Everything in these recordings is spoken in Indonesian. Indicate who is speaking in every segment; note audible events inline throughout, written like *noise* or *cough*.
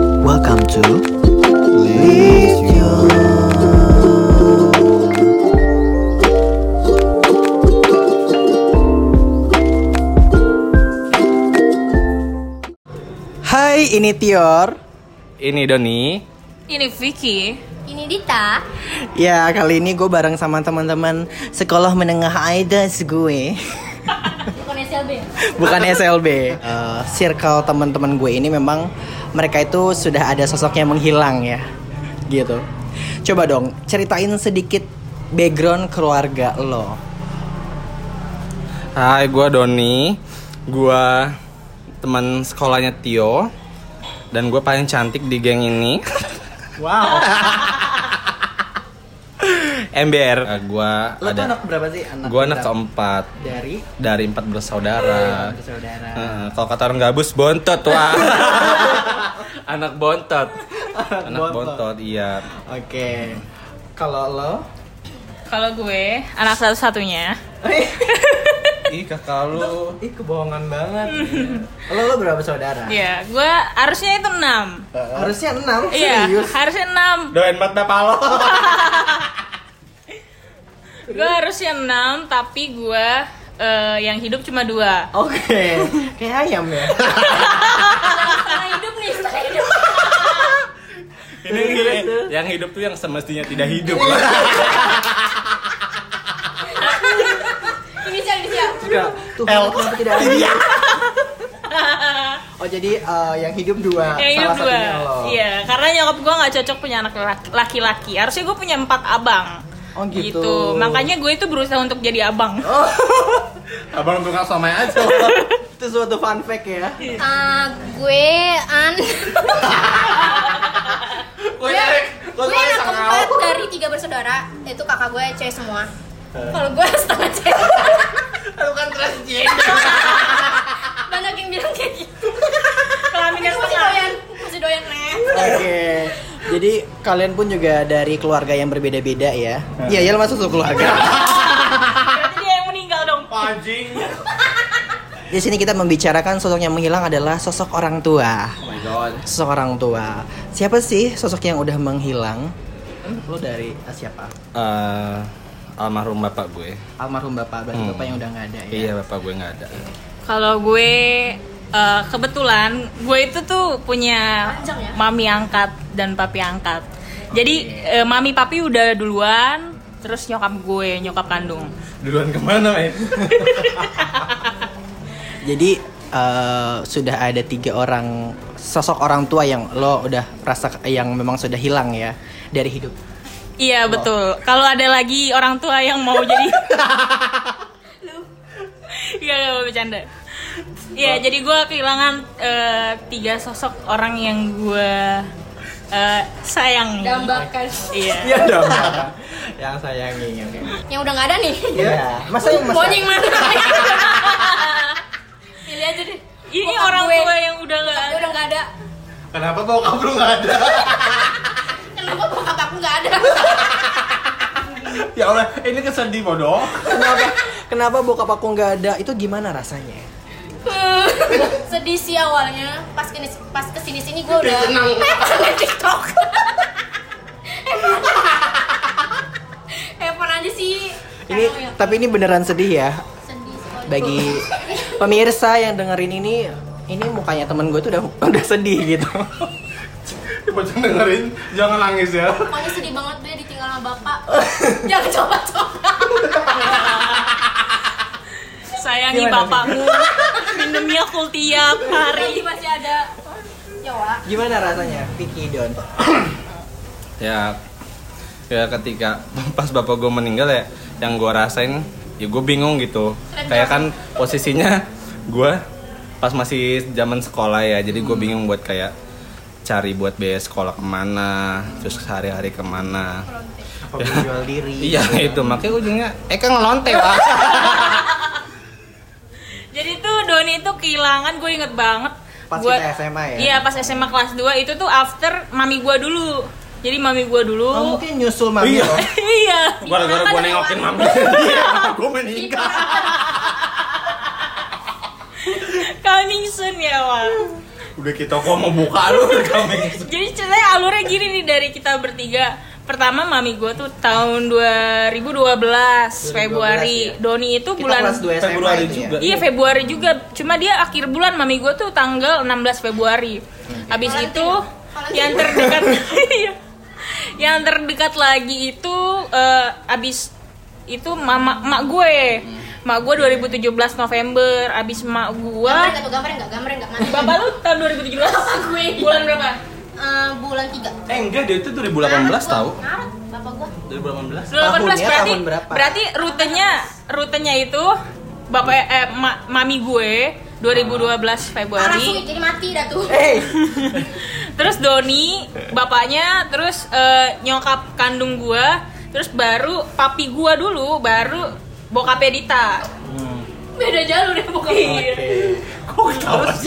Speaker 1: Welcome to Live Your Hai, ini Tior.
Speaker 2: Ini Doni.
Speaker 3: Ini Vicky.
Speaker 4: Ini Dita.
Speaker 1: Ya, kali ini gue bareng sama teman-teman sekolah menengah Aidas gue.
Speaker 4: Bukan SLB.
Speaker 1: bukan SLB. Eh, circle teman-teman gue ini memang mereka itu sudah ada sosoknya menghilang ya, gitu. Coba dong ceritain sedikit background keluarga lo.
Speaker 2: Hai, gua Doni. Gua teman sekolahnya Tio. Dan gue paling cantik di geng ini. *laughs*
Speaker 1: Wow.
Speaker 2: MBR. Eh, gua
Speaker 1: Lo tuh anak
Speaker 2: ada.
Speaker 1: berapa sih? Anak
Speaker 2: Gua anak
Speaker 1: berapa?
Speaker 2: keempat
Speaker 1: dari
Speaker 2: dari empat bersaudara.
Speaker 1: bersaudara.
Speaker 2: Eh, kalau kata orang gabus bontot wah. *laughs* anak bontot. Anak bontot, iya.
Speaker 1: Oke. Kalau lo?
Speaker 3: Kalau gue anak satu-satunya.
Speaker 2: Ih, kakak lu.
Speaker 1: Ih kebohongan banget. lo lo berapa saudara?
Speaker 3: Iya, gue harusnya itu enam.
Speaker 1: Harusnya enam.
Speaker 3: Eh, Iya,
Speaker 1: Serius.
Speaker 3: harusnya enam.
Speaker 2: Doain mata palo.
Speaker 3: Gue harusnya enam, tapi gue eh, yang hidup cuma dua.
Speaker 1: Oke. Kayak ayam ya.
Speaker 4: Setengah hidup nih, setengah hidup.
Speaker 2: Ini yang hidup tuh yang semestinya tidak hidup.
Speaker 4: Ini siap, ini siap.
Speaker 1: Enggak. Tuh, kenapa tidak ada?
Speaker 3: Iya.
Speaker 1: Oh jadi eh, yang hidup dua,
Speaker 3: yang
Speaker 1: salah
Speaker 3: hidup dua.
Speaker 1: satunya lo.
Speaker 3: Iya, karena nyokap gue nggak cocok punya anak laki- laki-laki. Harusnya gue punya empat abang.
Speaker 1: Oh, gitu.
Speaker 3: Makanya gue itu berusaha untuk jadi
Speaker 1: *laughs*
Speaker 3: abang.
Speaker 1: Oh,
Speaker 2: Abang tukang somai aja.
Speaker 1: Itu suatu fun fact ya.
Speaker 4: Ah, gue an.
Speaker 2: Gue nyari, gue
Speaker 4: gue
Speaker 2: nyari
Speaker 4: anak
Speaker 2: sang
Speaker 4: keempat
Speaker 2: au.
Speaker 4: dari tiga bersaudara. Itu kakak gue cewek semua. Kalau gue setengah cewek.
Speaker 2: Lu kan transgender.
Speaker 4: Banyak yang bilang kayak gitu.
Speaker 3: Kelaminnya
Speaker 4: Masih
Speaker 3: setengah.
Speaker 4: doyan, masih doyan nih.
Speaker 1: Oke. Jadi kalian pun juga dari keluarga yang berbeda-beda ya. Iya, ya masuk satu keluarga.
Speaker 3: Berarti dia yang meninggal dong.
Speaker 2: Anjing.
Speaker 1: Di sini kita membicarakan sosok yang menghilang adalah sosok orang tua.
Speaker 2: Oh my god.
Speaker 1: Sosok orang tua. Siapa sih sosok yang udah menghilang?
Speaker 2: Hmm?
Speaker 1: Lo dari ah, siapa?
Speaker 2: Eh, almarhum bapak gue.
Speaker 1: Almarhum bapak, berarti
Speaker 2: Hmm.
Speaker 1: bapak yang udah nggak ada ya.
Speaker 2: Iya, bapak gue nggak ada.
Speaker 3: Kalau gue eh, kebetulan gue itu tuh punya
Speaker 4: Panjang ya?
Speaker 3: mami angkat dan papi angkat. Jadi eh, mami papi udah duluan, terus nyokap gue nyokap kandung.
Speaker 2: Duluan kemana, men?
Speaker 1: Jadi eh, sudah ada tiga orang sosok orang tua yang lo udah rasa yang memang sudah hilang ya dari hidup.
Speaker 3: Iya betul. Kalau ada lagi orang tua yang mau jadi,
Speaker 4: *laughs*
Speaker 3: iya gak mau bercanda. Iya jadi gue kehilangan eh, tiga sosok orang yang gue eh, sayang.
Speaker 4: Dambakan.
Speaker 3: Iya.
Speaker 1: Iya dong. *laughs* yang sayangi. oke.
Speaker 4: Yang udah nggak ada nih.
Speaker 1: Ya, masa yang masa.
Speaker 4: Bonyeng mana? Pilih aja deh.
Speaker 3: Ini
Speaker 4: Bokap
Speaker 3: orang
Speaker 4: gue.
Speaker 3: tua yang udah gak
Speaker 4: Dia udah nggak ada.
Speaker 2: Kenapa bokap lu nggak ada?
Speaker 4: Kenapa bokap aku nggak ada?
Speaker 2: ya Allah, ini kesedih bodoh.
Speaker 1: Kenapa? Kenapa bokap aku nggak ada? Itu gimana rasanya?
Speaker 4: sedih sih awalnya pas kesini pas kesini sini gue udah *laughs* seneng TikTok Evan aja sih
Speaker 1: Ini
Speaker 4: Kayak,
Speaker 1: tapi ini beneran sedih ya
Speaker 4: sedih sekali.
Speaker 1: bagi pemirsa yang dengerin ini. Ini mukanya temen gue tuh udah *laughs* udah sedih gitu.
Speaker 2: Bocah dengerin, jangan nangis ya.
Speaker 4: pokoknya sedih banget dia ditinggal sama bapak jangan coba-coba
Speaker 3: Sayangi
Speaker 1: Gimana,
Speaker 3: bapakmu, *laughs* minumnya full tiap hari.
Speaker 4: hari masih ada ya Wak.
Speaker 1: Gimana rasanya, Vicky Don?
Speaker 2: Ya, ya ketika pas bapak gue meninggal ya, yang gue rasain, ya gue bingung gitu. Kayak kan posisinya gue pas masih zaman sekolah ya, jadi gue bingung buat kayak cari buat biaya sekolah kemana, terus sehari-hari kemana.
Speaker 1: Apa menjual diri?
Speaker 2: Iya *laughs* itu makanya ujungnya Eka kan ngelonte *laughs* wah.
Speaker 3: Jadi tuh Doni itu kehilangan gue inget banget.
Speaker 1: Pas
Speaker 3: Gua-
Speaker 1: kita SMA ya?
Speaker 3: Iya pas SMA kelas 2 itu tuh after mami gue dulu. Jadi mami gue dulu.
Speaker 1: Oh, mungkin nyusul mami
Speaker 2: Iya.
Speaker 1: loh.
Speaker 3: *laughs* iya.
Speaker 2: Gara-gara gue nengokin
Speaker 3: *laughs*
Speaker 2: mami. gue meninggal.
Speaker 3: Coming soon ya Wak.
Speaker 2: udah kita kok mau buka lu *laughs* kami
Speaker 3: Jadi ceritanya alurnya gini nih dari kita bertiga. Pertama mami gue tuh tahun 2012,
Speaker 1: ya.
Speaker 3: Februari. Doni itu
Speaker 1: Kita
Speaker 3: bulan
Speaker 1: kelas 2 SMA
Speaker 2: Februari
Speaker 1: itu
Speaker 2: juga.
Speaker 1: ya.
Speaker 3: Iya Februari juga. Cuma dia akhir bulan mami gue tuh tanggal 16 Februari.
Speaker 1: Hmm.
Speaker 3: Habis
Speaker 4: Valentine.
Speaker 3: itu
Speaker 4: Valentine.
Speaker 3: yang terdekat *laughs* Iya. yang terdekat lagi itu eh, abis itu mama mak gue.
Speaker 1: Hmm.
Speaker 3: Mak gue 2017 November, abis mak gue
Speaker 4: Gambar enggak tuh, gambar enggak, gambar enggak mati.
Speaker 3: Bapak lu tahun 2017
Speaker 4: gue.
Speaker 3: bulan berapa?
Speaker 4: Eh, bulan 3.
Speaker 2: Eh enggak dia itu 2018 tahu.
Speaker 4: Ngaret, bapak gua.
Speaker 2: 2018.
Speaker 3: 2018
Speaker 1: Tahunnya
Speaker 3: berarti
Speaker 1: tahun berapa?
Speaker 3: berarti rutenya rutenya itu bapak eh, ma- mami gue 2012
Speaker 4: Ah,
Speaker 3: Februari.
Speaker 4: langsung ya, jadi mati dah tuh.
Speaker 1: Hey,
Speaker 3: terus Doni bapaknya terus eh, nyokap kandung gua terus baru papi gua dulu baru bokapnya Dita
Speaker 4: Beda jalur ya
Speaker 3: Iya.
Speaker 4: pokoknya.
Speaker 1: terus,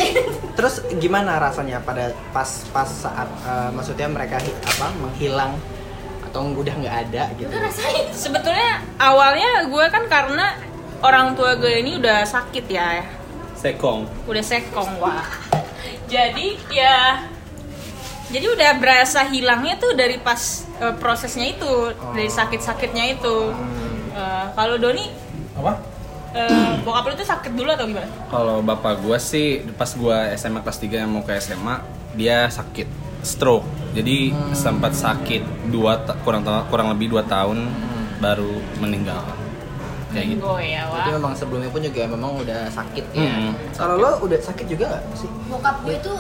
Speaker 1: terus gimana rasanya pada pas pas saat eh, maksudnya mereka hi- apa menghilang atau udah nggak ada gitu?
Speaker 4: Itu rasain.
Speaker 3: *laughs* sebetulnya awalnya gua kan karena orang tua gue ini udah sakit ya
Speaker 2: Sekong.
Speaker 3: udah sekong wah jadi ya jadi udah berasa hilangnya tuh dari pas eh, prosesnya itu dari sakit-sakitnya itu Eh, kalau Doni
Speaker 2: Apa?
Speaker 3: eh, bokap lu tuh sakit dulu atau gimana
Speaker 2: Kalau bapak gua sih pas gua SMA kelas 3 yang mau ke SMA, dia sakit stroke. Jadi sempat sakit dua ta- kurang ta- kurang lebih 2 tahun baru meninggal. Kayak gitu.
Speaker 3: gue ya wah
Speaker 1: Jadi memang sebelumnya pun juga memang udah sakit ya.
Speaker 2: Hmm,
Speaker 1: Kalau lo udah sakit juga nggak sih?
Speaker 4: Bokap gue *clears throat* itu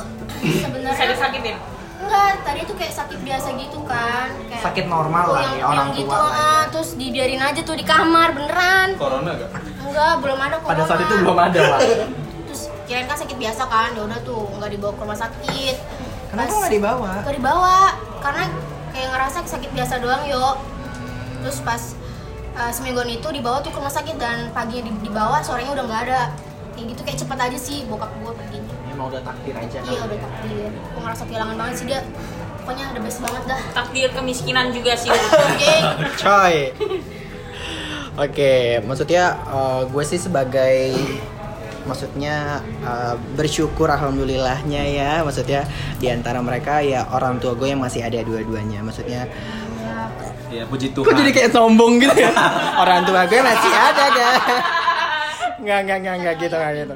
Speaker 4: sebenarnya
Speaker 3: bisa disakitin
Speaker 4: Enggak, tadi tuh kayak sakit biasa gitu kan. Kayak
Speaker 1: Sakit normal lah
Speaker 4: yang-
Speaker 1: ya, orang
Speaker 4: yang
Speaker 1: tua lah
Speaker 4: gitu,
Speaker 1: ya.
Speaker 4: ah, terus dibiarin aja tuh di kamar beneran.
Speaker 2: Corona gak?
Speaker 4: Enggak, belum ada corona.
Speaker 1: Pada saat itu belum ada pak.
Speaker 4: Terus kirain kan sakit biasa kan, ya udah tuh nggak dibawa ke rumah sakit.
Speaker 1: Kenapa
Speaker 4: Pas-
Speaker 1: nggak dibawa?
Speaker 4: Nggak dibawa, karena kayak ngerasa sakit biasa doang yo. Terus pas uh, semingguan itu dibawa tuh ke rumah sakit dan pagi di- dibawa, sorenya udah nggak ada. Kayak gitu kayak cepet aja sih bokap gue perginya.
Speaker 1: Emang udah takdir aja kan?
Speaker 4: Iya udah takdir. Gue ngerasa kehilangan banget sih dia. Pokoknya the best banget dah.
Speaker 3: takdir kemiskinan juga sih
Speaker 4: Oke.
Speaker 1: Coy. Oke, maksudnya eh, gue sih sebagai maksudnya eh, bersyukur alhamdulillahnya ya, maksudnya di antara mereka ya orang tua gue yang masih ada dua-duanya, maksudnya.
Speaker 2: Ya puji Tuhan.
Speaker 1: Kok jadi kayak sombong gitu ya? *laughs* orang tua gue masih ada kan? Nggak, nggak, nggak, nggak gitu, nggak gitu.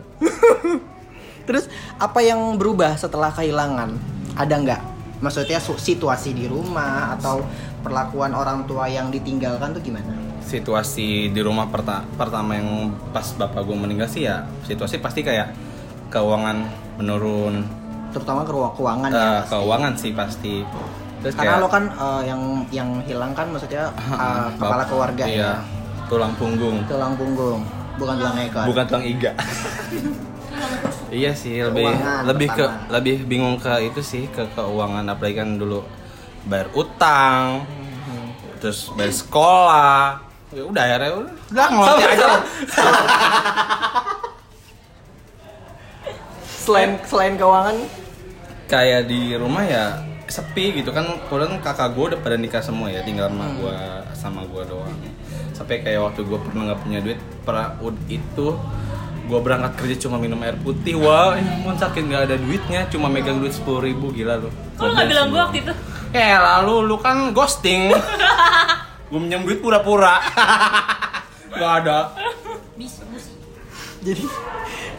Speaker 1: *laughs* Terus apa yang berubah setelah kehilangan? Ada nggak? Maksudnya su- situasi di rumah atau perlakuan orang tua yang ditinggalkan tuh gimana?
Speaker 2: situasi di rumah perta- pertama yang pas bapak gue meninggal sih ya situasi pasti kayak keuangan menurun
Speaker 1: terutama ke ruang keuangan ya
Speaker 2: Eh,
Speaker 1: pasti.
Speaker 2: keuangan sih pasti terus
Speaker 1: karena
Speaker 2: kayak
Speaker 1: lo kan eh, yang yang hilang kan
Speaker 2: *clears throat*
Speaker 1: maksudnya eh,
Speaker 2: Heeh,
Speaker 1: kepala
Speaker 2: bap-
Speaker 1: keluarga
Speaker 2: iya, tulang punggung
Speaker 1: ya tulang punggung bukan tulang ekor
Speaker 2: bukan tulang iga *laughs* iya sih lebih
Speaker 1: Keuangan
Speaker 2: lebih ke
Speaker 1: pertama.
Speaker 2: lebih bingung ke itu sih ke keuangan apalagi kan dulu bayar
Speaker 1: Hmm,
Speaker 2: utang terus bayar sekolah ya udah akhirnya udah
Speaker 1: Udah, ngelotok
Speaker 2: Sama-
Speaker 1: aja lah. selain selain keuangan
Speaker 2: kayak di rumah ya sepi gitu kan kemudian kakak gue udah pada nikah semua ya tinggal sama
Speaker 3: Hmm.
Speaker 2: gue sama gue doang sampai kayak waktu gue pernah nggak punya duit peraud itu gue berangkat kerja cuma minum air putih wah ini pun sakit nggak ada duitnya cuma megang duit sepuluh ribu gila lu
Speaker 3: *laughs* kok lu nggak bilang gue waktu itu
Speaker 2: eh lalu lu kan
Speaker 3: *laughs*
Speaker 2: ghosting gue minjem duit pura-pura *laughs* nggak ada
Speaker 4: Bis, busi.
Speaker 1: jadi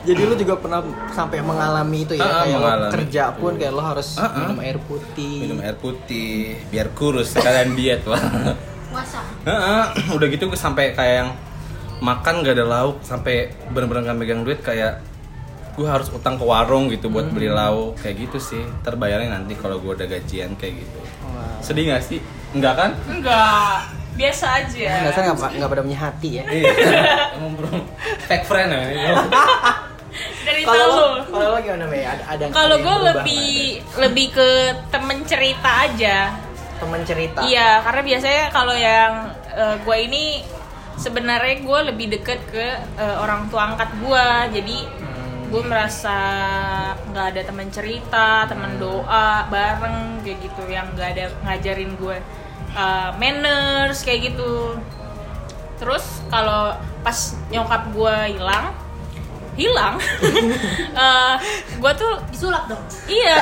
Speaker 1: jadi lo juga pernah sampai mengalami itu ya
Speaker 2: Ah, ah,
Speaker 1: kayak lo
Speaker 2: mengalami.
Speaker 1: kerja pun kayak lo harus
Speaker 2: Ah, ah.
Speaker 1: minum air putih
Speaker 2: minum air putih biar kurus sekalian diet lah
Speaker 4: Puasa.
Speaker 2: Heeh, *clears throat* udah gitu gue sampai kayak yang makan gak ada lauk sampai bener-bener gak megang duit kayak gue harus utang ke warung gitu buat beli lauk kayak gitu sih terbayarnya nanti kalau gue udah gajian kayak gitu
Speaker 1: Wah.
Speaker 2: sedih gak sih enggak kan
Speaker 3: enggak biasa aja
Speaker 1: Dasar nggak pa- nggak pada punya hati ya
Speaker 2: *laughs* iya emang bro fake friend ya ini.
Speaker 3: dari
Speaker 1: kalau
Speaker 3: lu Iya,
Speaker 1: lo kalau lo gimana Mei ada ada
Speaker 3: kalau
Speaker 1: ada yang
Speaker 3: gue
Speaker 1: berubah
Speaker 3: lebih
Speaker 1: nggak?
Speaker 3: lebih ke temen cerita aja
Speaker 1: temen cerita
Speaker 3: Iya, karena biasanya kalau yang gue ini sebenarnya gue lebih deket ke eh, orang tua angkat gue, jadi gue merasa nggak ada teman cerita, teman doa bareng kayak gitu yang nggak ada ngajarin gue eh, manners kayak gitu. Terus kalau pas nyokap gue hilang,
Speaker 4: *laughs*
Speaker 3: hilang Eh, gue tuh
Speaker 4: disulap dong *laughs*
Speaker 3: Iya.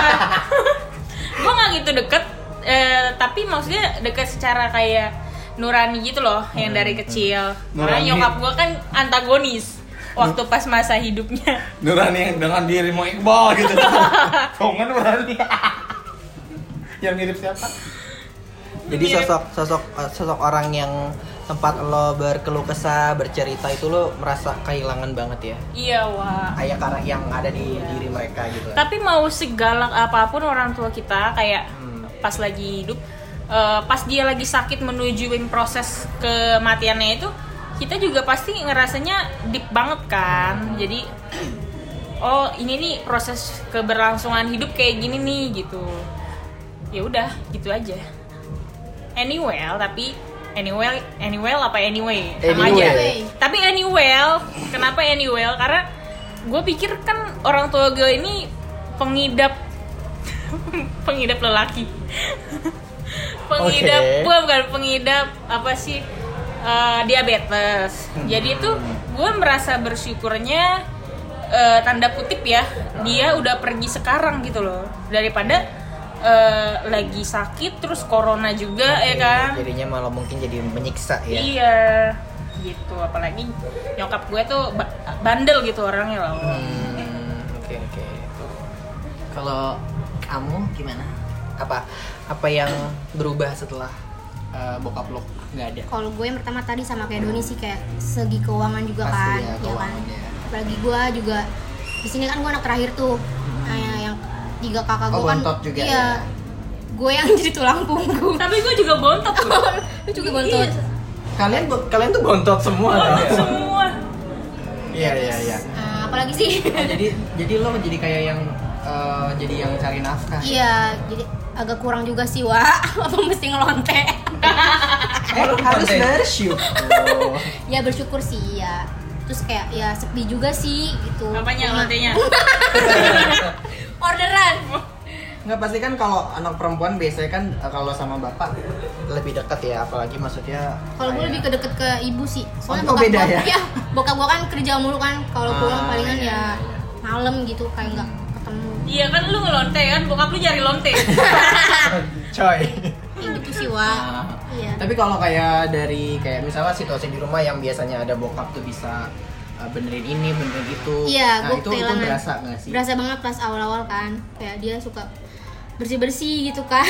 Speaker 3: gue nggak gitu deket, eh, tapi maksudnya deket secara kayak nurani gitu loh, yang dari kecil. Karena
Speaker 2: Nurani.
Speaker 3: nyokap gue kan antagonis waktu pas masa hidupnya.
Speaker 2: Nurani dengan dirimu Iqbal gitu. *laughs* Songan Nurani. yang mirip siapa?
Speaker 1: Jadi sosok sosok eh, sosok orang yang tempat lo berkeluh kesah, bercerita itu lo merasa kehilangan banget ya.
Speaker 3: Iya wah.
Speaker 1: Ayah karena yang ada di diri mereka gitu.
Speaker 3: Tapi mau segalak apapun orang tua kita kayak pas lagi hidup, eh, pas dia lagi sakit menujuin proses kematiannya itu, kita juga pasti ngerasanya deep banget kan. Jadi *clears throat* oh ini nih proses keberlangsungan hidup kayak gini nih gitu. Ya udah gitu aja. Anyway, tapi anyway, anyway apa anyway? Sama aja.
Speaker 1: Anyway.
Speaker 3: Tapi anyway, kenapa anyway? Karena gue pikir kan orang tua gue ini pengidap *laughs* pengidap lelaki. pengidap
Speaker 1: Oke.
Speaker 3: gue bukan pengidap apa sih eh, diabetes. Jadi itu gue merasa bersyukurnya eh, tanda kutip ya dia udah pergi sekarang gitu loh daripada eh, lagi sakit terus corona
Speaker 4: Iya,
Speaker 3: juga ya kan.
Speaker 1: Jadinya malah mungkin jadi menyiksa ya.
Speaker 3: Iya gitu apalagi nyokap gue tuh ba- bandel gitu orangnya loh.
Speaker 1: Hmm, Oke oke. Kalau kamu gimana? Apa apa yang berubah setelah eh, bokap lo nggak ada?
Speaker 4: kalau gue yang pertama tadi sama kayak Doni sih kayak segi keuangan juga
Speaker 1: Pasti
Speaker 4: kan
Speaker 1: ya,
Speaker 4: ya, kan
Speaker 1: keuangan ya.
Speaker 4: apalagi gue juga di sini kan gue anak terakhir tuh nah, yang, yang tiga kakak
Speaker 1: Oh,
Speaker 4: gue kan
Speaker 1: bontot juga
Speaker 4: iya
Speaker 1: ya.
Speaker 4: gue yang *laughs* jadi tulang punggung
Speaker 3: Tapi gue juga bontot loh.
Speaker 4: lu juga bontot
Speaker 3: Iya,
Speaker 1: Kalian bo- kalian tuh bontot semua kan
Speaker 3: bontot
Speaker 1: ya?
Speaker 3: semua.
Speaker 1: *laughs* Iya iya iya.
Speaker 4: Nah, apalagi sih *laughs*
Speaker 1: Oh, jadi jadi lo jadi kayak yang eh, jadi yang cari nafkah.
Speaker 4: iya jadi agak kurang juga sih wa *laughs* apa mesti ngelonte
Speaker 1: Eh, harus bersyukur.
Speaker 4: ya bersyukur sih ya terus kayak ya sepi juga sih gitu
Speaker 3: Apanya *laughs*
Speaker 4: Cuma- *laughs*
Speaker 3: lantainya?
Speaker 4: orderan
Speaker 5: Nggak pasti kan kalau anak perempuan biasanya kan eh, kalau sama bapak
Speaker 1: Lebih dekat ya, apalagi maksudnya
Speaker 4: Kalau gue lebih ke deket ke ibu sih. Soalnya
Speaker 5: Oh,
Speaker 4: bokap
Speaker 5: beda
Speaker 4: gua,
Speaker 5: ya?
Speaker 4: *laughs* Iya, bokap gue kan kerja mulu kan. Kalau
Speaker 1: Ah,
Speaker 4: pulang palingan
Speaker 1: iya,
Speaker 4: ya malam gitu kayak nggak ketemu.
Speaker 3: Iya kan lu ngelonte kan, bokap lu nyari lonte.
Speaker 1: coy.
Speaker 4: Ya gitu sih, Wak.
Speaker 1: Nah,
Speaker 4: Iya.
Speaker 1: Tapi kalau kayak dari kayak misalnya situasi di rumah yang biasanya ada bokap tuh bisa eh, benerin ini, benerin itu.
Speaker 4: Iya,
Speaker 1: nah,
Speaker 4: gue
Speaker 1: itu, itu berasa nggak sih?
Speaker 4: Berasa banget pas awal-awal kan. Kayak dia suka bersih-bersih gitu
Speaker 1: *laughs*
Speaker 4: kan.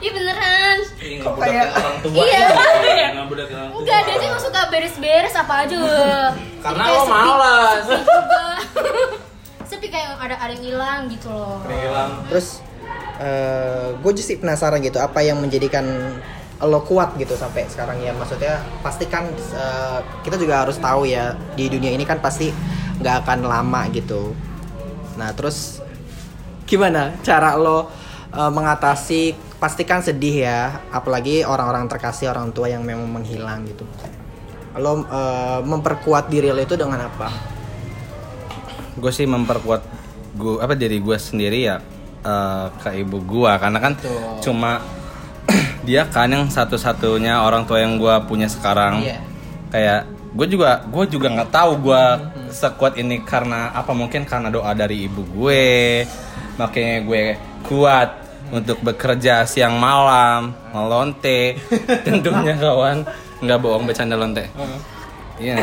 Speaker 4: Iya beneran.
Speaker 2: Kok kayak Iya, orang tua.
Speaker 4: Iya.
Speaker 3: Iya.
Speaker 2: Ngebudak orang tua.
Speaker 4: Enggak, dia tuh emang suka beres-beres apa
Speaker 1: *laughs*
Speaker 4: aja.
Speaker 2: Karena
Speaker 4: Jadi kayak
Speaker 2: lo
Speaker 4: sepi-
Speaker 2: malas.
Speaker 4: Sepi juga. *laughs* Sepi kayak ada ada yang hilang gitu loh.
Speaker 2: Hilang.
Speaker 1: Terus gue juga sih penasaran gitu apa yang menjadikan lo kuat gitu sampai sekarang ya maksudnya pasti kan eh, kita juga harus tahu ya di dunia ini kan pasti nggak akan lama gitu. Nah terus gimana cara lo eh, mengatasi pastikan sedih ya apalagi orang-orang terkasih orang tua yang memang menghilang gitu. Lo eh, memperkuat diri lo itu dengan apa?
Speaker 2: gue sih memperkuat gue apa diri gue sendiri ya eh, ke ibu gue karena kan cuma *clears throat* dia kan yang satu-satunya orang tua yang gue punya sekarang
Speaker 1: Iya.
Speaker 2: kayak gue juga gue juga nggak tahu gue
Speaker 1: Hmm,
Speaker 2: sekuat ini karena apa mungkin karena doa dari ibu gue makanya gue kuat untuk bekerja siang malam
Speaker 1: *laughs*
Speaker 2: melonte tentunya kawan nggak bohong bercanda lonte
Speaker 1: *laughs*
Speaker 2: iya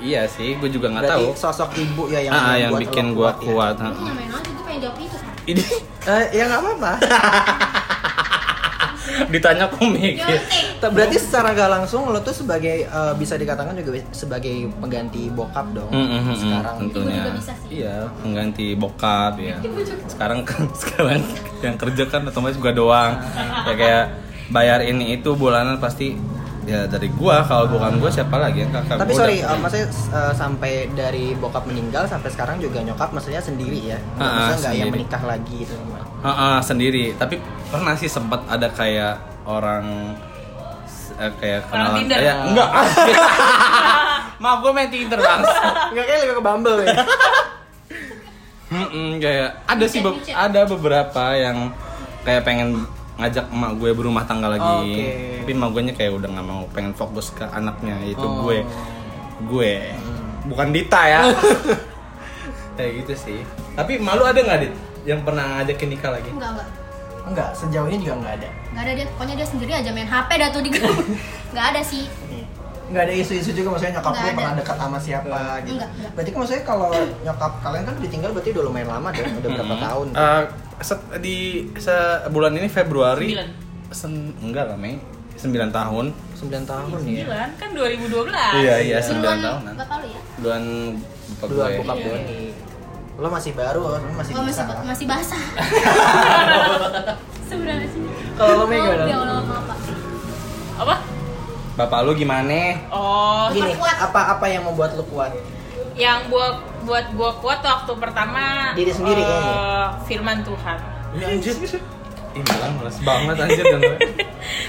Speaker 2: iya sih gue juga nggak
Speaker 1: Berarti
Speaker 2: tahu
Speaker 1: sosok ibu ya yang,
Speaker 2: Ah, ah, yang
Speaker 1: membuat
Speaker 2: bikin
Speaker 1: lo
Speaker 2: gua
Speaker 1: ya.
Speaker 2: kuat. ah.
Speaker 4: Lu nyamain aja, gue pengen jawab itu
Speaker 1: *laughs*
Speaker 4: kan.
Speaker 2: Ini *laughs*
Speaker 1: Eh, ya nggak apa-apa.
Speaker 2: ditanya kok mikir.
Speaker 4: Nyontek.
Speaker 1: Ta- Berarti secara gak langsung lo tuh sebagai eh, bisa dikatakan juga bi- sebagai pengganti bokap dong
Speaker 2: Mm, mm, mm, mm,
Speaker 1: sekarang. gitu
Speaker 2: tentunya.
Speaker 4: Ibu juga bisa sih.
Speaker 2: Iya, pengganti bokap ya. Sekarang kan *laughs* sekarang yang kerja kan otomatis gua doang. ya kayak bayar ini itu bulanan pasti ya dari gua kalau bukan gua siapa lagi yang kakak
Speaker 1: Tapi
Speaker 2: gua
Speaker 1: sorry,
Speaker 2: udah-
Speaker 1: eh, maksudnya eh, sampai dari bokap meninggal sampai sekarang juga nyokap maksudnya sendiri ya. Nggak-
Speaker 2: Ah, ah,
Speaker 1: maksudnya nggak yang
Speaker 2: sendiri.
Speaker 1: menikah lagi gitu. *laughs* itu.
Speaker 2: Ah, ah, sendiri. Tapi pernah sih sempat ada kayak orang eh, kayak
Speaker 3: Orang
Speaker 2: kenalan
Speaker 3: Tinder.
Speaker 2: kayak enggak *laughs* maaf gue main Tinder langsung
Speaker 1: Enggak kayak lebih ke Bumble *laughs* ya.
Speaker 2: Mm-mm, kayak ada sih be-
Speaker 4: Micet-micet.
Speaker 2: ada beberapa yang kayak pengen ngajak emak gue berumah tangga lagi.
Speaker 1: Oke.
Speaker 2: Oh. Tapi emak gue nya kayak udah nggak mau, pengen fokus ke anaknya itu
Speaker 1: Oh.
Speaker 2: gue. Gue. bukan Dita ya *laughs* kayak gitu sih tapi malu ada nggak dit yang pernah ngajakin nikah lagi
Speaker 4: Enggak, enggak.
Speaker 1: Enggak, sejauh ini juga enggak ada.
Speaker 4: Enggak ada dia, pokoknya dia sendiri aja main HP dah tuh di grup. Enggak ada sih.
Speaker 1: Iya. Enggak ada isu-isu juga maksudnya nyokap
Speaker 4: Nggak
Speaker 1: lu
Speaker 4: ada.
Speaker 1: pernah dekat sama siapa gitu.
Speaker 4: Nggak, nggak.
Speaker 1: Berarti kan maksudnya kalau nyokap kalian kan ditinggal berarti udah lumayan lama deh, udah berapa
Speaker 2: Mm-mm.
Speaker 1: tahun?
Speaker 2: Eh, se- di se- bulan ini Februari
Speaker 3: Sembilan.
Speaker 2: Sen- enggak lah Mei 9 tahun
Speaker 1: 9 tahun ya.
Speaker 3: Sembilan kan 2012.
Speaker 2: iya iya 9
Speaker 4: Duluan
Speaker 2: tahunan
Speaker 4: bapak lu ya?
Speaker 2: duluan bapak
Speaker 1: Dua
Speaker 2: gue.
Speaker 1: bokap gue. Lo masih baru, lo masih kan?
Speaker 4: Oh, masih
Speaker 1: bisa.
Speaker 4: masih basah. Sebenarnya sih.
Speaker 1: Kalau lo
Speaker 4: Oh,
Speaker 1: megang.
Speaker 4: ya Allah, maaf, Pak.
Speaker 3: Apa?
Speaker 2: bapak lu gimana
Speaker 3: Oh,
Speaker 1: Gini,
Speaker 4: Kuat.
Speaker 1: apa apa yang membuat lo kuat?
Speaker 3: yang buat buat gua kuat waktu pertama
Speaker 1: Diri sendiri, iya.
Speaker 3: eh,
Speaker 1: kayaknya.
Speaker 3: firman Tuhan.
Speaker 2: Ya anjir. Ih, malah males banget anjir
Speaker 3: *laughs*
Speaker 2: dan gue.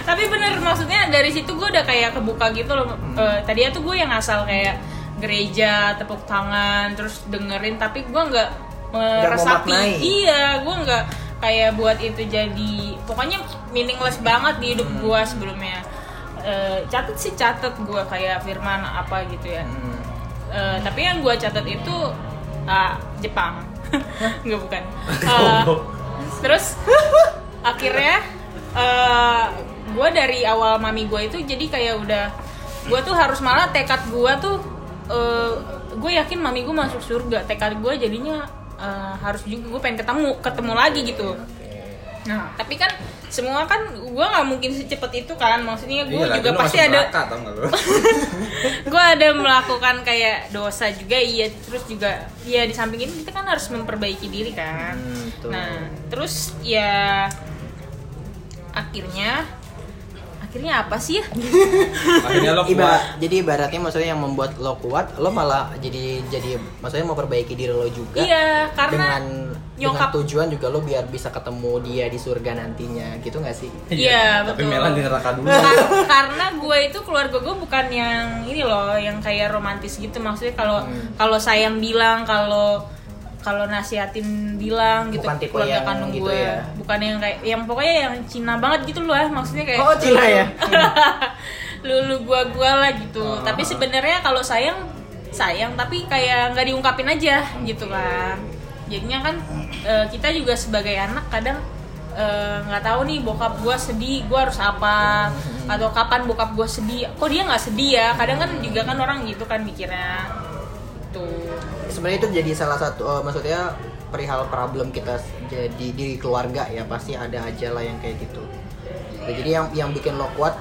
Speaker 3: Tapi bener maksudnya dari situ gua udah kayak kebuka gitu loh. Eh, tadinya tuh gue yang asal kayak gereja, tepuk tangan, terus dengerin tapi gua nggak meresapi.
Speaker 1: memaknai.
Speaker 3: Iya, gua nggak kayak buat itu jadi pokoknya meaningless banget di hidup
Speaker 1: Hmm.
Speaker 3: gua sebelumnya. Eh, catat sih catat gua kayak firman apa gitu ya.
Speaker 2: Hmm.
Speaker 3: Eh, tapi yang gue catat itu ah, Jepang *laughs* nggak
Speaker 2: *laughs*
Speaker 3: bukan Eh, terus akhirnya gue dari awal mami gue itu jadi kayak udah gue tuh harus malah tekad gue tuh gue yakin mami gue masuk surga tekad gue jadinya eh, harus juga gue pengen ketemu ketemu lagi gitu
Speaker 2: Iya,
Speaker 3: nah tapi kan semua kan gue nggak mungkin secepat itu kan maksudnya gue
Speaker 2: Iya, lagi
Speaker 3: juga
Speaker 2: lu
Speaker 3: pasti
Speaker 2: masuk
Speaker 3: ada
Speaker 2: neraka, tau
Speaker 3: *laughs*
Speaker 2: nggak lu?
Speaker 3: gue ada melakukan kayak dosa juga iya terus juga ya di samping ini kita kan harus memperbaiki diri kan
Speaker 1: Hmm, betul.
Speaker 3: nah terus ya akhirnya akhirnya apa sih ya
Speaker 2: akhirnya lo kuat
Speaker 1: Iba, jadi ibaratnya maksudnya yang membuat lo kuat, lo malah jadi jadi maksudnya mau perbaiki diri lo juga.
Speaker 3: iya
Speaker 1: dengan
Speaker 3: karena
Speaker 1: dengan
Speaker 3: nyokap
Speaker 1: tujuan juga lo biar bisa ketemu dia di surga nantinya gitu nggak sih?
Speaker 3: iya
Speaker 2: tapi
Speaker 3: betul
Speaker 2: Melan di neraka
Speaker 3: *laughs*
Speaker 2: dulu
Speaker 3: Kar- karena gue itu keluarga gue bukan yang ini loh yang kayak romantis gitu maksudnya kalau
Speaker 1: Hmm.
Speaker 3: kalau sayang bilang kalau kalau nasihatin bilang gitu
Speaker 1: Bukan tipe
Speaker 3: keluarga
Speaker 1: yang
Speaker 3: kandung
Speaker 1: gitu
Speaker 3: gue
Speaker 1: ya.
Speaker 3: bukan yang kayak yang pokoknya yang Cina banget gitu loh ah. maksudnya kayak
Speaker 1: Oh, Cina ya?
Speaker 3: lulu gua gua lah gitu tapi sebenarnya kalau sayang sayang tapi kayak nggak diungkapin aja gitu kan jadinya kan eh, kita juga sebagai anak kadang eh, nggak tahu nih bokap gua sedih gua harus apa atau kapan bokap gua sedih kok dia nggak sedih ya kadang kan juga kan orang gitu kan mikirnya tuh
Speaker 1: Sebenarnya itu jadi salah satu eh, maksudnya perihal problem kita s- jadi diri keluarga ya pasti ada aja lah yang kayak gitu. Ya, jadi yang yang bikin lo kuat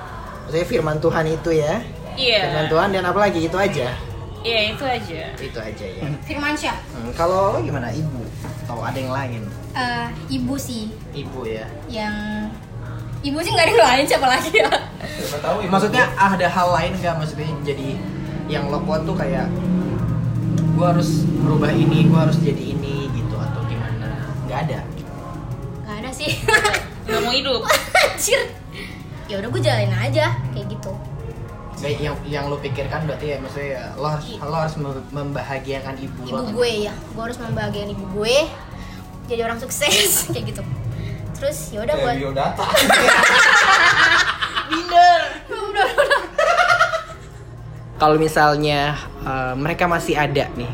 Speaker 1: maksudnya firman Tuhan itu ya.
Speaker 3: iya
Speaker 1: Firman Tuhan dan apalagi itu aja.
Speaker 3: iya itu aja
Speaker 1: Itu aja ya.
Speaker 4: Firmansyah.
Speaker 1: Hmm, kalau lo gimana ibu atau ada yang lain?
Speaker 4: Eh, ibu sih
Speaker 1: Ibu ya.
Speaker 4: yang ibu sih nggak ada yang lain siapa lagi ya
Speaker 1: Oh, Maksudnya ada hal lain nggak maksudnya yang jadi yang lo kuat tuh kayak gue harus merubah ini, gue harus jadi ini gitu atau gimana? Nggak ada.
Speaker 4: nggak ada sih *laughs*
Speaker 3: nggak mau hidup
Speaker 4: anjir ya udah gue jalanin aja kayak gitu
Speaker 1: Nggak, yang yang lo pikirkan berarti ya maksudnya ya, lo harus lo harus mem- membahagiakan ibu, lo. kan?
Speaker 4: ibu gue ya gue harus membahagiakan ibu gue jadi orang sukses *laughs* kayak gitu terus ya udah
Speaker 2: Kayak
Speaker 4: gue *laughs*
Speaker 2: biodata
Speaker 6: Kalau misalnya eh, mereka masih ada nih,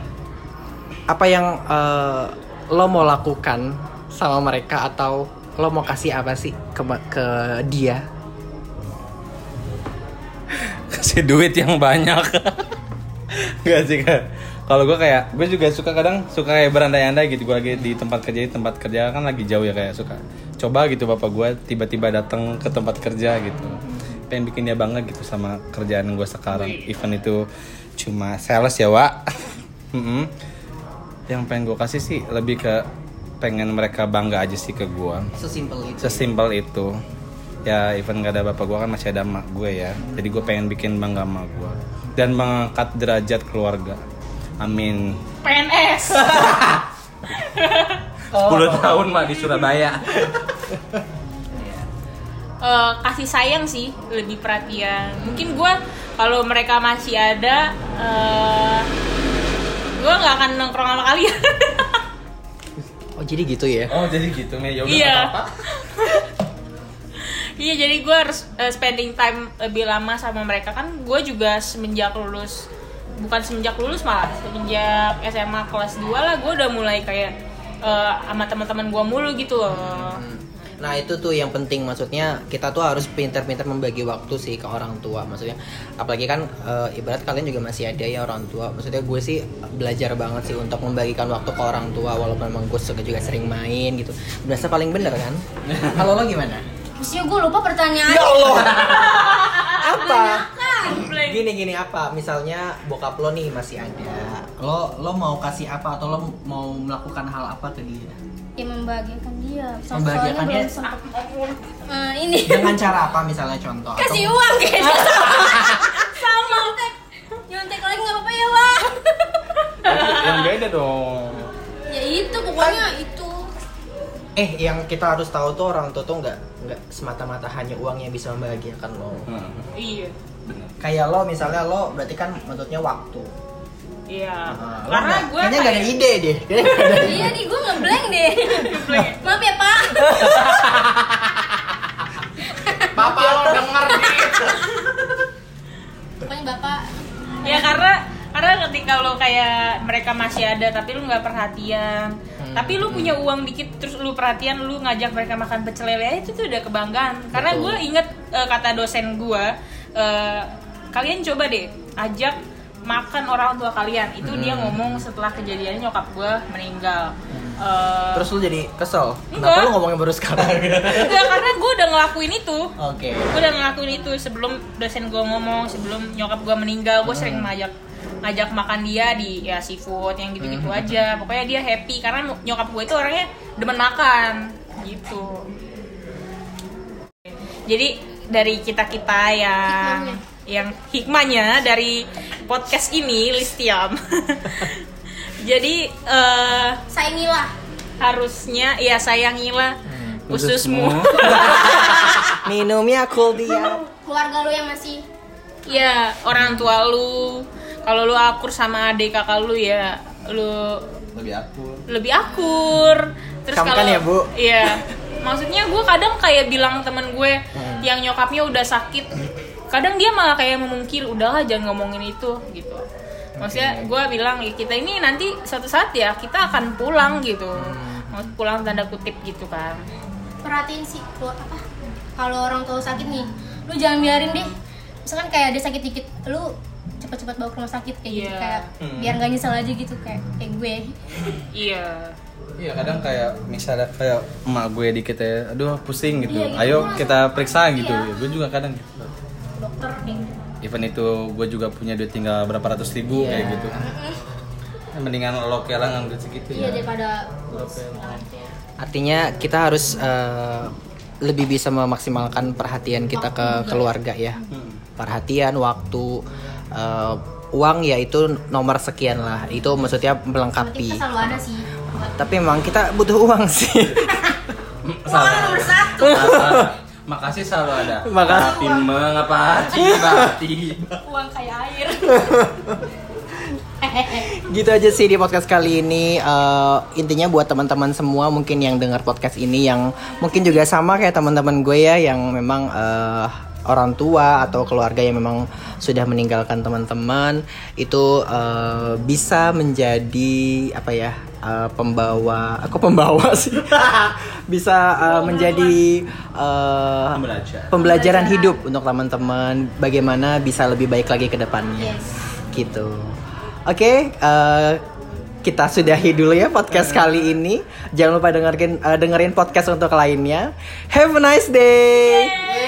Speaker 6: apa yang eh, lo mau lakukan sama mereka atau lo mau kasih apa sih ke ke dia?
Speaker 2: kasih duit yang banyak Gak sih Kak. kalau gue kayak gue juga suka kadang suka kayak berandai-andai gitu gue lagi di tempat kerja di tempat kerja kan lagi jauh ya kayak suka coba gitu bapak gue tiba-tiba datang ke tempat kerja gitu pengen bikin dia bangga gitu sama kerjaan gue sekarang even itu cuma sales ya Wak *laughs* Mm-mm. yang pengen gue kasih sih lebih ke pengen mereka bangga aja sih ke gue
Speaker 1: Sesimpel itu.
Speaker 2: sesimpel itu ya even gak ada bapak gue kan masih ada emak gue ya jadi gue pengen bikin bangga emak gue dan mengangkat derajat keluarga amin
Speaker 3: PNS
Speaker 4: Oh.
Speaker 2: 10 tahun mak di Surabaya
Speaker 3: Eh, kasih sayang sih lebih perhatian mungkin gue kalau mereka masih ada gue nggak akan nongkrong sama kalian *laughs*
Speaker 6: Oh jadi gitu ya?
Speaker 2: oh jadi gitu Mei ya udah
Speaker 3: Iya.
Speaker 2: apa
Speaker 3: iya jadi gue harus eh, spending time lebih lama sama mereka kan gue juga semenjak lulus bukan semenjak lulus malah semenjak SMA kelas 2 lah gue udah mulai kayak eh, sama teman-teman gue mulu gitu loh
Speaker 1: Nah itu tuh yang penting maksudnya kita tuh harus pintar-pintar membagi waktu sih ke orang tua maksudnya apalagi kan eh, ibarat kalian juga masih ada ya orang tua maksudnya gue sih belajar banget sih untuk membagikan waktu ke orang tua walaupun memang gue suka juga sering main gitu berasa paling bener
Speaker 6: *laughs*
Speaker 1: kan kalau lo gimana
Speaker 4: Maksudnya gue lupa pertanyaan.
Speaker 1: Ya Allah apa
Speaker 3: Play.
Speaker 1: gini gini apa misalnya bokap lo nih masih ada lo lo mau kasih apa atau lo mau melakukan hal apa ke dia
Speaker 4: Ya membahagiakan dia. So-
Speaker 1: Membahagiakan
Speaker 4: soalnya
Speaker 1: dia.
Speaker 4: belum sempat. Eh,
Speaker 1: *laughs*
Speaker 4: ini
Speaker 1: dengan cara apa misalnya contoh Atau-
Speaker 4: kasih uang
Speaker 1: *laughs*
Speaker 4: kayaknya sama. Nyontek. Nyontek lagi nggak apa-apa ya Wah.
Speaker 2: yang beda dong
Speaker 4: ya itu pokoknya itu.
Speaker 1: Eh, yang kita harus tahu tuh orang tua tuh nggak nggak semata-mata hanya uang yang bisa membahagiakan lo.
Speaker 2: Hmm,
Speaker 3: iya
Speaker 2: bener.
Speaker 1: Kayak lo misalnya lo berarti kan maksudnya waktu.
Speaker 3: iya
Speaker 1: Nah, lo
Speaker 3: karena
Speaker 1: nggak-
Speaker 3: gue
Speaker 1: kayaknya nggak ada ide deh. Kayaknya nggak ada ide.
Speaker 4: Iya nih gue ngeblank deh. Maaf ya Pak.
Speaker 7: Bapak lo denger nih.
Speaker 4: Pokoknya bapak.
Speaker 3: ya karena karena ketika lo kayak mereka masih ada tapi lu nggak perhatian tapi lu punya uang dikit terus lu perhatian lu ngajak mereka makan pecel lele ya itu tuh udah kebanggaan karena gue inget eh, kata dosen gue eh, kalian coba deh ajak makan orang tua kalian itu dia ngomong setelah kejadian nyokap gue meninggal Eh,
Speaker 1: Terus lo jadi kesel. Kenapa
Speaker 3: Enggak.
Speaker 1: lo ngomongnya baru sekarang?
Speaker 3: enggak, karena gue udah ngelakuin itu
Speaker 1: Oke.
Speaker 3: gue udah ngelakuin itu sebelum dosen gue ngomong sebelum nyokap gue meninggal gue sering ngajak ngajak makan dia di ya seafood yang gitu-gitu aja pokoknya dia happy karena mo- nyokap gue itu orangnya demen makan gitu jadi dari kita kita yang
Speaker 4: Hikmahnya.
Speaker 3: yang hikmahnya dari podcast ini Listiam *laughs* jadi eh,
Speaker 4: Saingilah.
Speaker 3: harusnya ya sayangilah khususmu
Speaker 1: Minumnya cool dia.
Speaker 4: Keluarga lu yang masih
Speaker 3: Ya, orang tua lu. Kalau lu akur sama adik kakak lu ya lu
Speaker 2: lebih aku
Speaker 3: lebih akur. Terus
Speaker 1: Kamu
Speaker 3: kalau
Speaker 1: kan ya, Bu?
Speaker 3: Iya. Maksudnya gue kadang kayak bilang temen gue
Speaker 1: Hmm.
Speaker 3: yang nyokapnya udah sakit, kadang dia malah kayak memungkir, udahlah jangan ngomongin itu gitu. Maksudnya gue bilang "Ya, kita ini nanti suatu saat ya kita akan pulang gitu,
Speaker 1: Hmm.
Speaker 3: mau pulang tanda kutip gitu kan.
Speaker 4: perhatiin sih lu apa kalau orang tua sakit nih lu jangan biarin deh misalkan kayak ada sakit dikit lu cepet-cepet bawa ke rumah sakit kayak gitu
Speaker 3: Iya.
Speaker 4: kayak
Speaker 1: Hmm.
Speaker 4: biar nggak nyesel aja gitu kayak kayak gue
Speaker 3: Iya.
Speaker 2: Iya kadang kayak misalnya kayak emak gue dikit ya, aduh pusing gitu.
Speaker 4: Iya, gitu.
Speaker 2: Ayo kita periksa gitu.
Speaker 4: Iya.
Speaker 2: Ya, gue juga kadang gitu.
Speaker 4: Ke dokter deh
Speaker 2: Even itu gue juga punya duit tinggal berapa ratus ribu kayak gitu. Mendingan lo kelang ngambil segitu
Speaker 4: iya
Speaker 2: ya.
Speaker 4: daripada
Speaker 1: Artinya kita harus eh, lebih bisa memaksimalkan perhatian kita ke keluarga ya. Perhatian, waktu, eh, uang ya itu nomor sekian lah. Itu maksudnya
Speaker 4: kita
Speaker 1: melengkapi.
Speaker 4: selalu ada sih
Speaker 1: Tapi emang kita butuh uang sih. *laughs*
Speaker 2: Salah.
Speaker 4: bersatu
Speaker 2: Salah. Makasih selalu ada.
Speaker 1: Makasih.
Speaker 2: Hati mengapa hati bakti.
Speaker 4: uang kayak air
Speaker 1: gitu aja sih di podcast kali ini Eh, intinya buat teman-teman semua mungkin yang dengar podcast ini yang mungkin juga sama kayak teman-teman gue ya yang memang eh, orang tua atau keluarga yang memang sudah meninggalkan teman-teman itu eh, bisa menjadi apa ya eh, pembawa aku pembawa sih *laughs* bisa eh, menjadi eh,
Speaker 2: Belajar.
Speaker 1: pembelajaran hidup untuk teman-teman bagaimana bisa lebih baik lagi ke depannya
Speaker 4: Yes.
Speaker 1: gitu. Oke, eh, kita sudahi dulu ya podcast kali ini. Jangan lupa dengerin eh, dengerin podcast untuk lainnya. Have a nice day.